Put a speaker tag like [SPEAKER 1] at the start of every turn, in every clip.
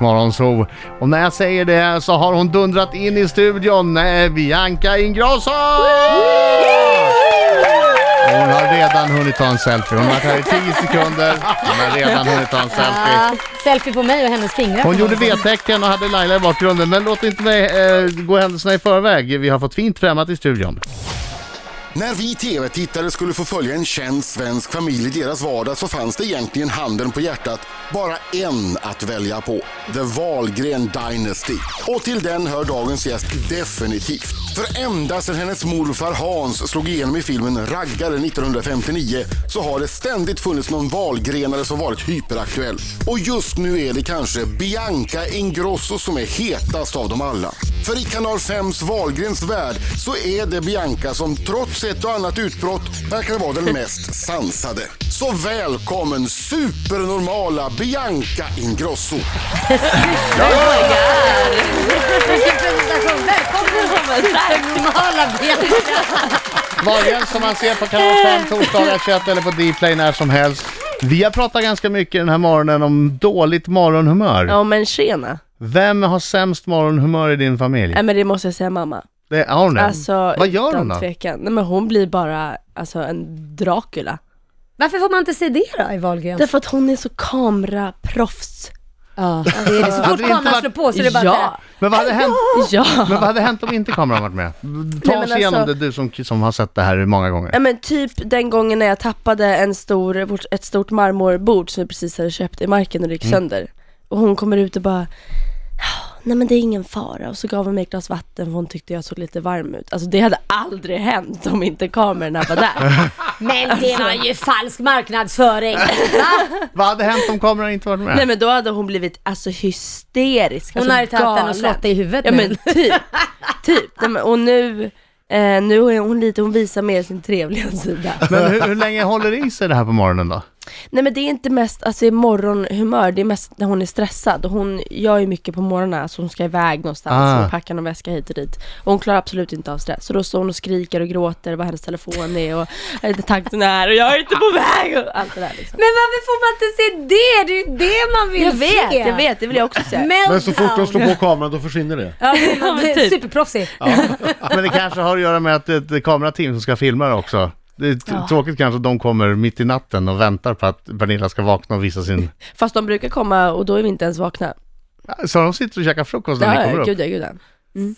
[SPEAKER 1] Riksmorgonzoo. Och när jag säger det så har hon dundrat in i studion, eh, Bianca Ingrosso! Och Hon har redan hunnit ta en selfie. Hon har varit här i 10 sekunder. Hon har redan hunnit ta en selfie.
[SPEAKER 2] Ja, Ah, selfie på mig och hennes fingrar.
[SPEAKER 1] Hon gjorde V-tecken och hade Laila i bakgrunden. Men låt inte mig eh, gå händelserna i förväg. Vi har fått fint främmat i studion.
[SPEAKER 3] När vi tv-tittare skulle få följa en känd svensk familj i deras vardag så fanns det egentligen handen på hjärtat bara en att välja på. The Wahlgren Dynasty. Och till den hör dagens gäst definitivt. För ända sedan hennes morfar Hans slog igenom i filmen Raggare 1959 så har det ständigt funnits någon valgrenare som varit hyperaktuell. Och just nu är det kanske Bianca Ingrosso som är hetast av dem alla. För i Kanal 5s Wahlgrens värld så är det Bianca som trots ett och annat utbrott verkar vara den mest sansade. Så välkommen supernormala Bianca Ingrosso!
[SPEAKER 2] Vilken presentation! Välkommen till normala Bianca!
[SPEAKER 1] Wahlgren som man ser på Kanal 5 torsdagar 21 eller på Dplay när som helst. Vi har pratat ganska mycket den här morgonen om dåligt morgonhumör.
[SPEAKER 4] Ja men tjena.
[SPEAKER 1] Vem har sämst morgonhumör i din familj?
[SPEAKER 4] Nej men det måste jag säga mamma.
[SPEAKER 1] Det har hon det?
[SPEAKER 4] Alltså,
[SPEAKER 1] Mm. Vad gör
[SPEAKER 4] utan
[SPEAKER 1] hon då?
[SPEAKER 4] Tvekan. Nej men hon blir bara, alltså en Dracula.
[SPEAKER 2] Varför får man inte se det då i Wahlgren?
[SPEAKER 4] Därför att hon är så kameraproffs.
[SPEAKER 2] Ja, det är det. Så fort
[SPEAKER 1] Hade det inte
[SPEAKER 2] kameran
[SPEAKER 1] varit-
[SPEAKER 2] slår på så är det bara så här.
[SPEAKER 4] ja,
[SPEAKER 1] Men vad hade hänt?
[SPEAKER 4] ja.
[SPEAKER 1] Men vad hade hänt om inte kameran varit med? Ta
[SPEAKER 4] men
[SPEAKER 1] oss igenom
[SPEAKER 4] alltså-
[SPEAKER 1] det, du som, som har sett det här många gånger.
[SPEAKER 4] Nej men typ den gången när jag tappade en stor, vårt- ett stort marmorbord som jag precis hade köpt i marken och det gick
[SPEAKER 1] Mm.
[SPEAKER 4] sönder. Och hon kommer ut och bara "Ja, Nej men det är ingen fara och så gav hon mig ett glas vatten för hon tyckte jag såg lite varm ut. Alltså det hade aldrig hänt om inte kamerorna var där.
[SPEAKER 2] Men det var ju falsk marknadsföring!
[SPEAKER 1] Vad hade hänt om kameran inte varit med?
[SPEAKER 4] Nej men då hade hon blivit alltså hysterisk.
[SPEAKER 2] Hon
[SPEAKER 4] alltså,
[SPEAKER 2] har ju tagit den och slått dig i huvudet
[SPEAKER 4] Ja
[SPEAKER 2] nu.
[SPEAKER 4] men typ, typ. Nej, men, och nu, eh, nu är hon lite, hon visar mer sin trevliga sida.
[SPEAKER 1] Men hur, hur länge håller det i sig det här på morgonen då?
[SPEAKER 4] Nej men det är inte mest alltså, i morgonhumör, det är mest när hon är stressad. Och Hon gör ju mycket på morgonen, alltså hon ska iväg någonstans,
[SPEAKER 1] Ah.
[SPEAKER 4] hon packar någon väska hit och dit. Och hon klarar absolut inte av stress. Så då står hon och skriker och gråter vad hennes telefon är och eh, takten är och jag är inte på väg och allt det där liksom.
[SPEAKER 2] Men varför får man inte se det? Det är ju det man vill
[SPEAKER 4] Jag
[SPEAKER 2] se!
[SPEAKER 4] vet, jag vet, det vill jag också säga.
[SPEAKER 2] Meltdown.
[SPEAKER 5] Men så fort de slår på kameran då försvinner det.
[SPEAKER 2] Ja, det är- det är
[SPEAKER 4] typ.
[SPEAKER 2] Superproffsig.
[SPEAKER 1] Men det kanske har att göra med att det är ett kamerateam som ska filma det också. Det är t- tråkigt kanske att de kommer mitt i natten och väntar på att Pernilla ska vakna och visa sin...
[SPEAKER 4] Fast de brukar komma och då är vi inte ens vakna.
[SPEAKER 1] Så de sitter och käkar frukost när ni
[SPEAKER 4] Ja,
[SPEAKER 1] kommer
[SPEAKER 4] ja,
[SPEAKER 1] upp.
[SPEAKER 4] gud ja, gud ja.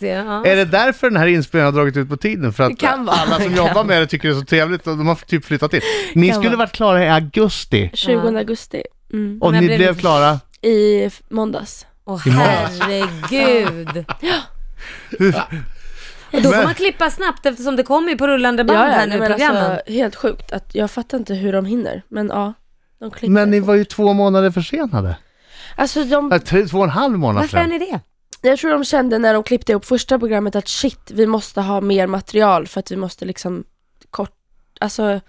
[SPEAKER 2] Så, ja.
[SPEAKER 1] Är det därför den här inspelningen har dragit ut på tiden? För att
[SPEAKER 4] kan vara.
[SPEAKER 1] alla som
[SPEAKER 4] Det kan
[SPEAKER 1] jobbar med det tycker det är så trevligt och de har typ flyttat in. Ni
[SPEAKER 4] Kan
[SPEAKER 1] skulle
[SPEAKER 4] vara.
[SPEAKER 1] varit klara i augusti
[SPEAKER 4] 20
[SPEAKER 2] Ja.
[SPEAKER 4] augusti. Mm.
[SPEAKER 1] och
[SPEAKER 2] Men
[SPEAKER 1] ni
[SPEAKER 2] blev
[SPEAKER 1] blev
[SPEAKER 2] det-
[SPEAKER 1] klara.
[SPEAKER 4] I f- måndags.
[SPEAKER 2] Åh herregud. Och då får
[SPEAKER 1] Men-
[SPEAKER 2] man klippa snabbt eftersom det kommer ju på rullande band här nu
[SPEAKER 4] nej, men
[SPEAKER 2] programmen.
[SPEAKER 4] alltså, helt sjukt. Att, jag fattar inte hur de hinner, men ja. De klipper.
[SPEAKER 1] Men ni var ju två månader försenade.
[SPEAKER 4] Alltså de,
[SPEAKER 1] Äh, tre, två och en halv månad
[SPEAKER 2] Varför är
[SPEAKER 1] sen.
[SPEAKER 2] ni det?
[SPEAKER 4] jag tror de kände när de klippte ihop första programmet att shit, vi måste ha mer material för att vi måste liksom kort, alltså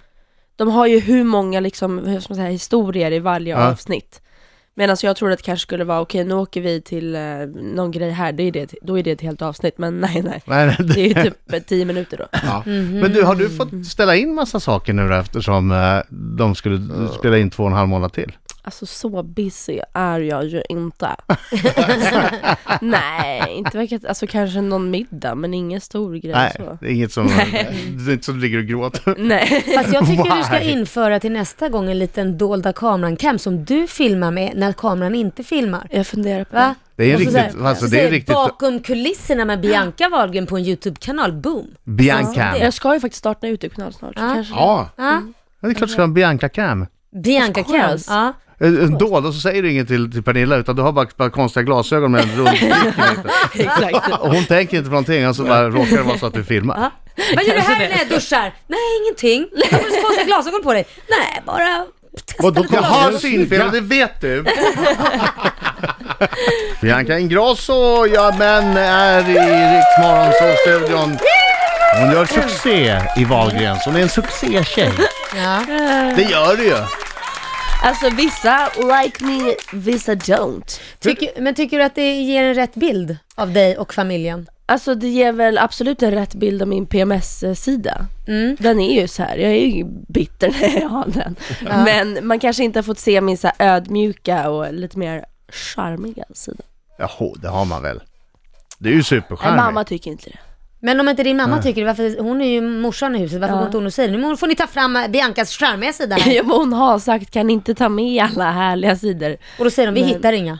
[SPEAKER 4] de har ju hur många liksom, hur ska man säga, historier i varje
[SPEAKER 1] Ja.
[SPEAKER 4] avsnitt. Medan jag trodde att det kanske skulle vara, okej nu åker vi till eh, någon grej här, då är, det, då är det ett helt avsnitt, men nej nej.
[SPEAKER 1] Nej, nej,
[SPEAKER 4] Det är ju typ eh, tio minuter då.
[SPEAKER 1] Men du, har du
[SPEAKER 4] Mm.
[SPEAKER 1] fått ställa in massa saker nu då, eftersom eh, de skulle spela in två och en halv månad till?
[SPEAKER 4] Alltså så busy är jag ju inte. Nej, inte verkar, alltså kanske någon middag men ingen stor grej
[SPEAKER 1] Nej,
[SPEAKER 4] så.
[SPEAKER 1] det är inget som, det är inte som ligger och gråter.
[SPEAKER 4] Nej.
[SPEAKER 2] Fast jag tycker du ska
[SPEAKER 1] Why?
[SPEAKER 2] införa till nästa gång en liten dolda kameran-cam som du filmar med när kameran inte filmar.
[SPEAKER 4] Jag funderar på
[SPEAKER 2] Va?
[SPEAKER 4] det.
[SPEAKER 1] Det är
[SPEAKER 2] Och så
[SPEAKER 1] riktigt,
[SPEAKER 2] så här-
[SPEAKER 1] alltså
[SPEAKER 2] så
[SPEAKER 1] det är
[SPEAKER 2] här,
[SPEAKER 1] riktigt
[SPEAKER 2] Bakom kulisserna med Bianca Wahlgren på en YouTube-kanal, boom!
[SPEAKER 1] Bianca.
[SPEAKER 2] Ja,
[SPEAKER 1] Ja,
[SPEAKER 4] Jag ska ju faktiskt starta en Youtube-kanal snart. så
[SPEAKER 2] Ja.
[SPEAKER 4] Kanske.
[SPEAKER 5] Ja,
[SPEAKER 2] Ja,
[SPEAKER 1] det är klart du ska ha en Bianca-cam.
[SPEAKER 2] Bianca
[SPEAKER 4] Of course.
[SPEAKER 2] Cam.
[SPEAKER 1] alltså.
[SPEAKER 2] Ja.
[SPEAKER 1] En en dold och eh, så säger du inget till, till Pernilla utan du har bara, bara konstiga glasögon med en rund prick i mitten.
[SPEAKER 4] Exakt.
[SPEAKER 1] Och hon tänker inte på någonting, alltså bara råkar det vara så att du filmar.
[SPEAKER 2] Vad gör du här när jag duschar? Nej, ingenting. Varför har du konstiga glasögon på dig? Nej, bara testa
[SPEAKER 5] Vadå,
[SPEAKER 2] lite
[SPEAKER 1] Jag har
[SPEAKER 2] glasögon.
[SPEAKER 1] synfel och det vet du. Bianca Ingrosso, ja men är i Riksmorgonstudion. Hon gör succé i Wahlgrens, hon är en succétjej. Det gör du ju.
[SPEAKER 4] Alltså vissa like me, vissa don't.
[SPEAKER 2] Tycker, men tycker du att det ger en rätt bild av dig och familjen?
[SPEAKER 4] Alltså det ger väl absolut en rätt bild av min PMS-sida. Den är ju så här, jag är ju bitter när jag har den. Men man kanske inte har fått se min så här ödmjuka och lite mer charmiga sida.
[SPEAKER 1] Jaha, det har man väl. Det är ju
[SPEAKER 4] Nej,
[SPEAKER 1] superskärmigt.
[SPEAKER 4] mamma tycker inte det.
[SPEAKER 2] Men om inte din mamma tycker det, varför, hon är ju morsan i huset, varför går inte hon och säger det? Nu får ni ta fram Biancas charmiga sida här.
[SPEAKER 4] Ja, men hon har sagt kan inte ta med alla härliga sidor.
[SPEAKER 2] Och då säger de, vi hittar inga.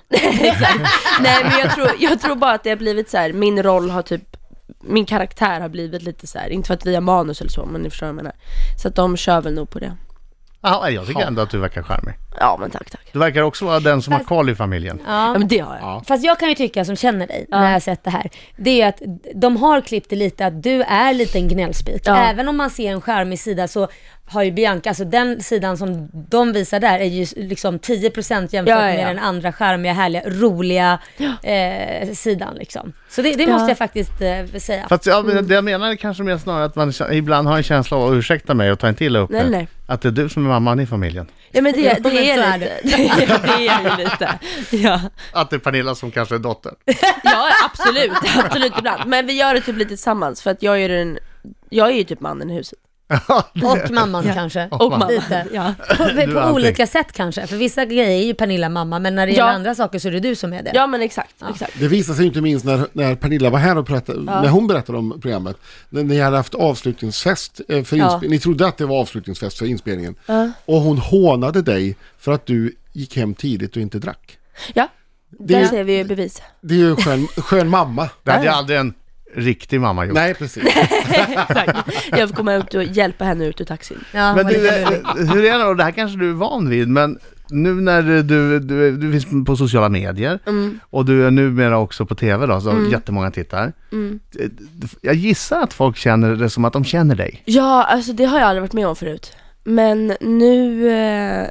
[SPEAKER 4] Nej men jag tror, jag tror bara att det har blivit så här. min roll har typ min karaktär har blivit lite så här. inte för att vi har manus eller så men ni förstår vad jag menar. Så att de kör väl nog på det.
[SPEAKER 1] Ja, jag tycker ändå att du verkar charmig.
[SPEAKER 4] Ja men tack tack.
[SPEAKER 1] Du verkar också vara den som har koll i familjen.
[SPEAKER 4] Ja men det har jag.
[SPEAKER 2] Fast jag kan ju tycka som känner dig när jag har sett det här, det är ju att de har klippt det lite att du är lite en gnällspik.
[SPEAKER 4] Ja.
[SPEAKER 2] Även om man ser en charmig sida så har ju Bianca, alltså den sidan som de visar där är ju liksom 10% jämfört
[SPEAKER 4] Ja, ja, ja.
[SPEAKER 2] med den andra charmiga, härliga, roliga eh, sidan liksom. Så det, det måste jag faktiskt eh, säga.
[SPEAKER 1] Fast ja, men det jag menar är kanske mer snarare att man k- ibland har en känsla av, ursäkta mig och ta inte illa upp
[SPEAKER 4] Nej,
[SPEAKER 1] nu,
[SPEAKER 4] nej.
[SPEAKER 1] att det är du som är mamman i familjen.
[SPEAKER 4] Ja men det,
[SPEAKER 2] men
[SPEAKER 4] det
[SPEAKER 2] så
[SPEAKER 4] är
[SPEAKER 2] är
[SPEAKER 4] lite. Det är ju lite. Ja.
[SPEAKER 1] Att det är Pernilla som kanske är dotter.
[SPEAKER 4] ja absolut, absolut ibland. Men vi gör det typ lite tillsammans för att jag är den, jag är ju typ mannen i huset.
[SPEAKER 2] Och mamman kanske.
[SPEAKER 4] Och mamma.
[SPEAKER 2] Lite.
[SPEAKER 4] Ja.
[SPEAKER 2] På,
[SPEAKER 1] är
[SPEAKER 2] på
[SPEAKER 1] allting.
[SPEAKER 2] olika sätt kanske. För vissa grejer är ju Pernilla mamma, men när det
[SPEAKER 4] Ja.
[SPEAKER 2] gäller andra saker så är det du som är det.
[SPEAKER 4] ja men exakt, exakt.
[SPEAKER 5] Det visade sig ju inte minst när, när Pernilla var här och pratade, när hon berättade om programmet. När ni hade haft avslutningsfest eh, för
[SPEAKER 4] Ja.
[SPEAKER 5] inspe- Ni trodde att det var avslutningsfest för inspelningen. Och hon hånade dig för att du gick hem tidigt och inte drack.
[SPEAKER 4] Ja,
[SPEAKER 5] Det är
[SPEAKER 4] där
[SPEAKER 5] ju-
[SPEAKER 4] ser vi ju bevis.
[SPEAKER 5] Det är ju en skön, skön mamma.
[SPEAKER 1] Det hade ju aldrig en riktig mamma gjort.
[SPEAKER 5] Nej, precis.
[SPEAKER 4] Jag får komma ut och hjälpa henne ut ur taxin.
[SPEAKER 2] Ja,
[SPEAKER 1] Men
[SPEAKER 2] vad
[SPEAKER 1] du,
[SPEAKER 2] lite
[SPEAKER 1] eh,
[SPEAKER 2] roligt.
[SPEAKER 1] hur är det då? Det här kanske du är van vid, men nu när du, du, du finns på sociala medier och du är numera också på TV då, så jättemånga tittar. Jag gissar att folk känner det som att de känner dig.
[SPEAKER 4] Ja, alltså det har jag aldrig varit med om förut. Men nu, eh,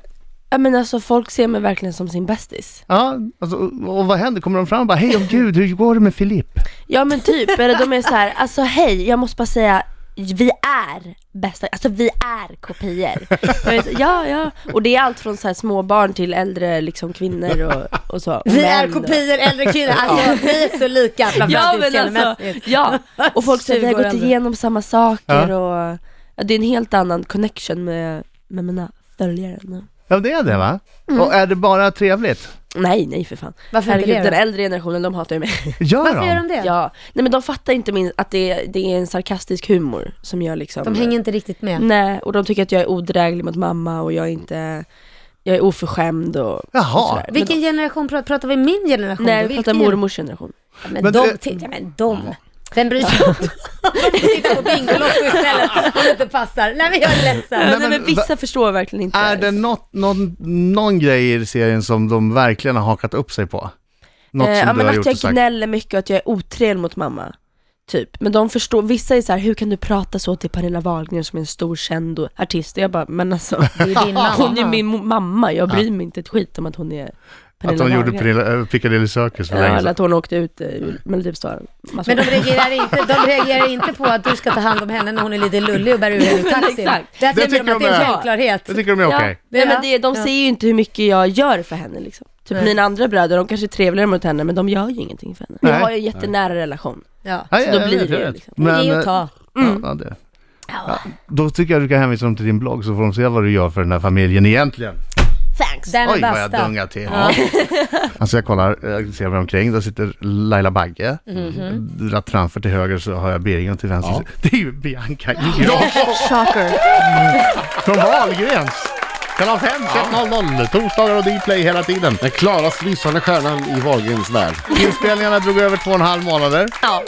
[SPEAKER 4] ja men alltså folk ser mig verkligen som sin bästis.
[SPEAKER 1] Ja, alltså, och och vad händer? Kommer de fram och bara ”Hej, åh gud, hur går det med Filipp?”
[SPEAKER 4] Ja men typ, eller de är så här, alltså hej, jag måste bara säga, vi är bästa, alltså vi är kopior. Jag vet, Ja, ja, och det är allt från så här små barn till äldre liksom kvinnor och, och så.
[SPEAKER 2] Vi
[SPEAKER 4] Män
[SPEAKER 2] är
[SPEAKER 4] och-
[SPEAKER 2] kopior, äldre kvinnor. Alltså vi är så lika. framförallt
[SPEAKER 4] Ja men alltså,
[SPEAKER 2] utseendemässigt.
[SPEAKER 4] ja. Och folk säger vi har
[SPEAKER 2] 20 år
[SPEAKER 4] gått
[SPEAKER 2] äldre.
[SPEAKER 4] igenom samma saker och ja, det är en helt annan connection med, med mina följare nu.
[SPEAKER 1] Ja, det är det va?
[SPEAKER 4] Mm.
[SPEAKER 1] Och är det bara trevligt?
[SPEAKER 4] Nej, nej för fan.
[SPEAKER 2] Varför inte
[SPEAKER 4] Herregud,
[SPEAKER 2] det då?
[SPEAKER 4] den äldre generationen, de hatar ju mig.
[SPEAKER 1] Gör
[SPEAKER 2] Varför
[SPEAKER 1] de?
[SPEAKER 2] gör de det?
[SPEAKER 4] ja. Nej men de fattar inte min, att det, det är en sarkastisk humor som jag liksom...
[SPEAKER 2] De hänger inte riktigt med.
[SPEAKER 4] Nej, och de tycker att jag är odräglig mot mamma och jag är inte... Jag är oförskämd och... och
[SPEAKER 1] Jaha,
[SPEAKER 4] sådär. Men
[SPEAKER 2] Vilken generation pratar, pratar vi? Min
[SPEAKER 4] de-
[SPEAKER 2] generation?
[SPEAKER 4] Nej, vi
[SPEAKER 2] Vilken?
[SPEAKER 4] pratar mormors generation.
[SPEAKER 2] Ja, Men,
[SPEAKER 1] Men
[SPEAKER 2] de,
[SPEAKER 1] det-
[SPEAKER 2] titta, men de. Vem bryr sig? De tittar på Bingolotto istället om det inte passar. Nej men jag är ledsen.
[SPEAKER 4] Nej,
[SPEAKER 1] men
[SPEAKER 4] men, vissa förstår verkligen inte.
[SPEAKER 1] är det något, någon, någon grej i serien som de verkligen har hakat upp sig på? Något
[SPEAKER 4] Eh,
[SPEAKER 1] som
[SPEAKER 4] ja,
[SPEAKER 1] du
[SPEAKER 4] men
[SPEAKER 1] har
[SPEAKER 4] att
[SPEAKER 1] gjort
[SPEAKER 4] jag
[SPEAKER 1] och sagt?
[SPEAKER 4] gnäller mycket och att jag är otrevlig mot mamma. Typ. Men de förstår, vissa är så här, hur kan du prata så till Pernilla Wahlgren som är en stor känd och artist? Och jag bara, men alltså,
[SPEAKER 2] din mamma.
[SPEAKER 4] hon är min mo- mamma, jag bryr mig inte ett skit om att hon är
[SPEAKER 1] Att
[SPEAKER 4] Pernilla
[SPEAKER 1] de gjorde
[SPEAKER 4] Wahlgren.
[SPEAKER 1] Pernilla- eh, Piccadilly Circus för
[SPEAKER 4] Ja,
[SPEAKER 1] länge
[SPEAKER 4] eller
[SPEAKER 1] sedan.
[SPEAKER 4] att hon åkte ut eh, ur Melodifestivalen.
[SPEAKER 2] Men de reagerar, inte, de reagerar inte på att du ska ta hand om henne när hon är lite lullig och bär ur henne ur taxin.
[SPEAKER 4] Exakt.
[SPEAKER 2] Där tycker
[SPEAKER 1] tycker
[SPEAKER 2] de att
[SPEAKER 1] de
[SPEAKER 2] det är en
[SPEAKER 1] är-
[SPEAKER 2] självklarhet.
[SPEAKER 1] Jag tycker de är okej.
[SPEAKER 4] Nej, men det, de
[SPEAKER 2] Ja.
[SPEAKER 4] ser ju inte hur mycket jag gör för henne liksom. Typ
[SPEAKER 2] Nej.
[SPEAKER 4] mina andra bröder, de kanske är trevligare mot henne men de gör ju ingenting för henne. Vi
[SPEAKER 1] Nej.
[SPEAKER 4] har ju en jättenära relation.
[SPEAKER 2] Ja.
[SPEAKER 1] Ja,
[SPEAKER 4] Så
[SPEAKER 1] ja,
[SPEAKER 4] då
[SPEAKER 1] jag
[SPEAKER 4] blir
[SPEAKER 1] vet, jag
[SPEAKER 4] det ju Mm.
[SPEAKER 1] vet.
[SPEAKER 4] liksom.
[SPEAKER 2] Men, det är ju
[SPEAKER 1] eh,
[SPEAKER 2] att ta.
[SPEAKER 1] ja, ja, det. Ja, då tycker jag du kan hänvisa dem till din blogg så får de se vad du gör för den här familjen egentligen.
[SPEAKER 4] Thanks!
[SPEAKER 2] Den är
[SPEAKER 1] Oj, vad jag
[SPEAKER 2] bästa.
[SPEAKER 1] dungar till. Alltså jag kollar, jag ser mig omkring, där sitter Laila Bagge.
[SPEAKER 2] Mhm.
[SPEAKER 1] Rätt framför till höger så har jag Birgit till vänster. Det är ju Bianca Ingrosso
[SPEAKER 4] Shocker!
[SPEAKER 1] från Wahlgrens. Kanal 5, 21.00, torsdagar och Dplay hela tiden.
[SPEAKER 5] Den klarast lysande stjärnan i Wahlgrens värld.
[SPEAKER 1] Inspelningarna drog över två och en halv månader.
[SPEAKER 4] Ja.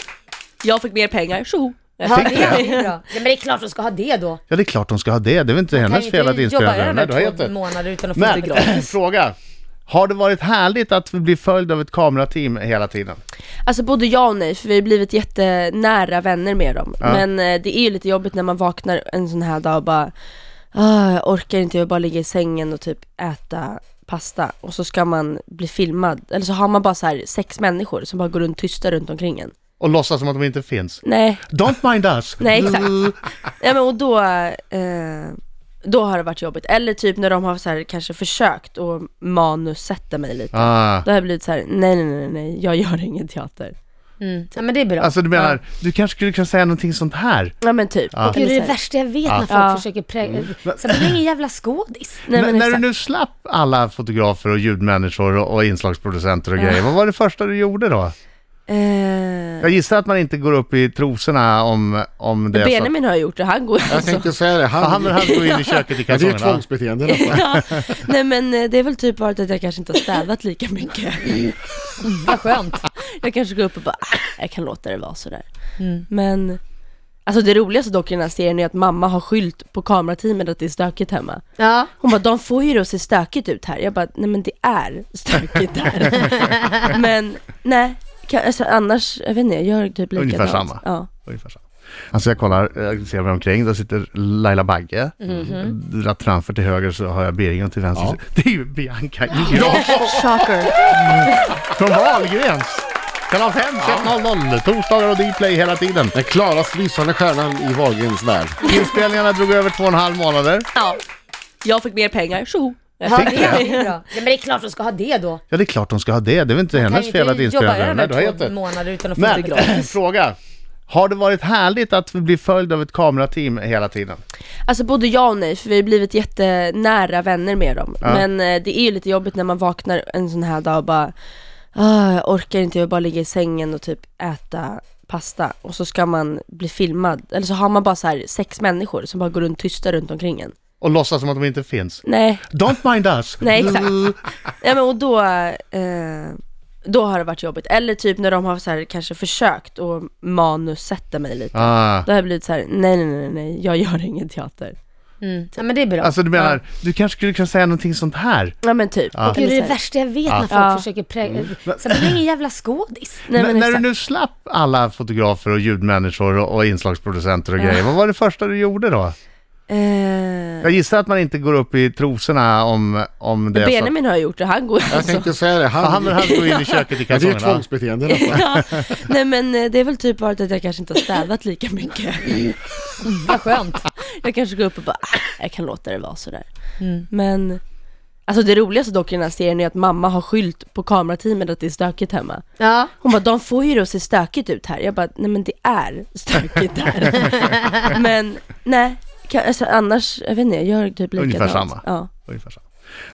[SPEAKER 4] Jag fick mer pengar, tjoho!
[SPEAKER 2] Ja, det är ju bra. Ja, men det är klart de ska ha det då.
[SPEAKER 1] Ja, det är klart de ska ha det. Det är väl inte
[SPEAKER 2] Kan ju
[SPEAKER 1] hennes fel att
[SPEAKER 2] inte jobba
[SPEAKER 1] inspelningarna... Nej, du har
[SPEAKER 2] över
[SPEAKER 1] helt
[SPEAKER 2] två
[SPEAKER 1] rätt.
[SPEAKER 2] månader utan att få lite gratis.
[SPEAKER 1] Men, fråga. Har det varit härligt att bli följd av ett kamerateam hela tiden?
[SPEAKER 4] Alltså både ja och nej, för vi har blivit jättenära vänner med dem.
[SPEAKER 1] Ja.
[SPEAKER 4] Men eh, det är ju lite jobbigt när man vaknar en sån här dag och bara "Ah, jag orkar inte, jag vill bara ligga i sängen och typ äta pasta. Och så ska man bli filmad, eller så har man bara så här sex människor som bara går runt tysta runt omkring en.
[SPEAKER 1] Och låtsas som att de inte finns?
[SPEAKER 4] Nej,
[SPEAKER 1] Don't mind us!
[SPEAKER 4] nej exakt. ja, men och då, eh, då har det varit jobbigt. Eller typ när de har så här kanske försökt och manussätta mig lite.
[SPEAKER 1] Ah,
[SPEAKER 4] Då har jag blivit så här: nej nej nej nej, jag gör ingen teater.
[SPEAKER 2] Mm. Ja, men det är bra.
[SPEAKER 1] Alltså du menar, du kanske skulle kunna säga någonting sånt här?
[SPEAKER 4] Ja men typ.
[SPEAKER 1] Ja.
[SPEAKER 2] Gud, det är det värsta jag vet när folk
[SPEAKER 4] Ja.
[SPEAKER 2] försöker prä...
[SPEAKER 1] Mm.
[SPEAKER 2] eh, Så blir det ingen jävla skådis.
[SPEAKER 4] Nej,
[SPEAKER 1] N-
[SPEAKER 4] men
[SPEAKER 1] när du
[SPEAKER 4] exakt.
[SPEAKER 1] nu slapp alla fotografer och ljudmänniskor och, och inslagsproducenter och grejer, vad var det första du gjorde då?
[SPEAKER 4] Eh,
[SPEAKER 1] Jag gissar att man inte går upp i trosorna om, om det är så.
[SPEAKER 4] Benjamin har gjort det, han går
[SPEAKER 5] Jag
[SPEAKER 4] alltså.
[SPEAKER 5] tänkte säga det, han,
[SPEAKER 1] Ja, han, han går in i köket i
[SPEAKER 5] Ja, det är ju
[SPEAKER 1] kalsongerna.
[SPEAKER 5] tvångsbeteende. i alla fall.
[SPEAKER 4] Ja. Nej men eh, det är väl typ varit att jag kanske inte har städat lika mycket.
[SPEAKER 2] Mm, Vad skönt.
[SPEAKER 4] Jag kanske går upp och bara, "Ah, jag kan låta det vara sådär.
[SPEAKER 2] Mm.
[SPEAKER 4] Men, alltså det roligaste dock i den här serien är att mamma har skylt på kamerateamet att det är stökigt hemma.
[SPEAKER 2] Ja.
[SPEAKER 4] Hon bara, de får ju det att se stökigt ut här. Jag bara, nej men det är stökigt här. men nej, kan, alltså, annars, jag vet inte, jag gör typ likadant.
[SPEAKER 1] Ungefär samma.
[SPEAKER 4] Ja.
[SPEAKER 1] Ungefär så. Alltså jag kollar, jag ser mig omkring, där sitter Laila Bagge.
[SPEAKER 4] Mhm.
[SPEAKER 1] Rätt framför till höger så har jag Birgit till vänster.
[SPEAKER 5] Ja.
[SPEAKER 1] Det är ju Bianca Ingrosso
[SPEAKER 4] Shocker.
[SPEAKER 1] från Wahlgrens. Kanal 5, 21.00, torsdagar och Dplay hela tiden.
[SPEAKER 5] Den klarast lysande stjärnan i Wahlgrens värld.
[SPEAKER 1] Inspelningarna drog över två och en halv månader.
[SPEAKER 4] Ja. Jag fick mer pengar, tjoho.
[SPEAKER 2] Ja, det är bra. Ja, men det är klart de ska ha det då.
[SPEAKER 1] Ja, det är klart de ska ha det. Det är väl inte
[SPEAKER 2] Kan
[SPEAKER 1] hennes
[SPEAKER 2] inte
[SPEAKER 1] fel att
[SPEAKER 2] jobba
[SPEAKER 1] inspelningarna...
[SPEAKER 2] över
[SPEAKER 1] Nej, du har helt
[SPEAKER 2] två
[SPEAKER 1] rätt.
[SPEAKER 2] månader utan att få det
[SPEAKER 1] Men,
[SPEAKER 2] gratis.
[SPEAKER 1] fråga. Har det varit härligt att bli följd av ett kamerateam hela tiden?
[SPEAKER 4] Alltså både ja och nej, för vi har ju blivit jättenära vänner med dem.
[SPEAKER 1] Ja.
[SPEAKER 4] Men eh, det är ju lite jobbigt när man vaknar en sån här dag och bara "Ah, jag orkar inte, jag vill bara ligga i sängen och typ äta pasta. Och så ska man bli filmad, eller så har man bara så här sex människor som bara går runt tysta runt omkring en.
[SPEAKER 1] Och låtsas som att de inte finns?
[SPEAKER 4] Nej,
[SPEAKER 1] Don't mind us!
[SPEAKER 4] nej exakt. ja, men och då, eh, då har det varit jobbigt. Eller typ när de har så här kanske försökt och manussätta mig lite.
[SPEAKER 1] Ah.
[SPEAKER 4] Då har jag blivit så här: nej nej nej nej, jag gör ingen teater.
[SPEAKER 2] Mm. Ja, men det är bra.
[SPEAKER 1] Alltså du menar, du kanske skulle kunna säga någonting sånt här?
[SPEAKER 4] Ja men typ.
[SPEAKER 1] Ja.
[SPEAKER 2] Gud, det är
[SPEAKER 4] Eller så
[SPEAKER 2] det
[SPEAKER 4] här-
[SPEAKER 2] värsta jag vet när folk
[SPEAKER 4] Ja.
[SPEAKER 2] försöker prä...
[SPEAKER 1] Mm.
[SPEAKER 2] Så blir det ingen jävla skådis.
[SPEAKER 4] Nej,
[SPEAKER 1] N-
[SPEAKER 4] men
[SPEAKER 1] när du
[SPEAKER 4] exakt.
[SPEAKER 1] nu slapp alla fotografer och ljudmänniskor och, och inslagsproducenter och grejer, vad var det första du gjorde då?
[SPEAKER 4] Eh,
[SPEAKER 1] Jag gissar att man inte går upp i trosorna om, om det är så.
[SPEAKER 4] Benjamin har gjort det, han går
[SPEAKER 5] Jag
[SPEAKER 4] alltså.
[SPEAKER 5] tänkte säga det, han,
[SPEAKER 1] Ja, han, han går in i köket i
[SPEAKER 5] Ja, det är ju
[SPEAKER 1] kalsongerna.
[SPEAKER 5] tvångsbeteende. i alla fall.
[SPEAKER 4] Ja. Nej men eh, det är väl typ varit att jag kanske inte har städat lika mycket.
[SPEAKER 2] Vad skönt.
[SPEAKER 4] Jag kanske går upp och bara, "Ah, jag kan låta det vara sådär.
[SPEAKER 2] Mm.
[SPEAKER 4] Men, alltså det roligaste dock i den här serien är att mamma har skylt på kamerateamet att det är stökigt hemma.
[SPEAKER 2] Ja.
[SPEAKER 4] Hon bara, de får ju det att se stökigt ut här. Jag bara, nej men det är stökigt här. men nej, kan, alltså, annars, jag vet inte, jag gör typ likadant.
[SPEAKER 1] Ungefär samma.
[SPEAKER 5] alltså.
[SPEAKER 4] Ja.
[SPEAKER 1] Ungefär så.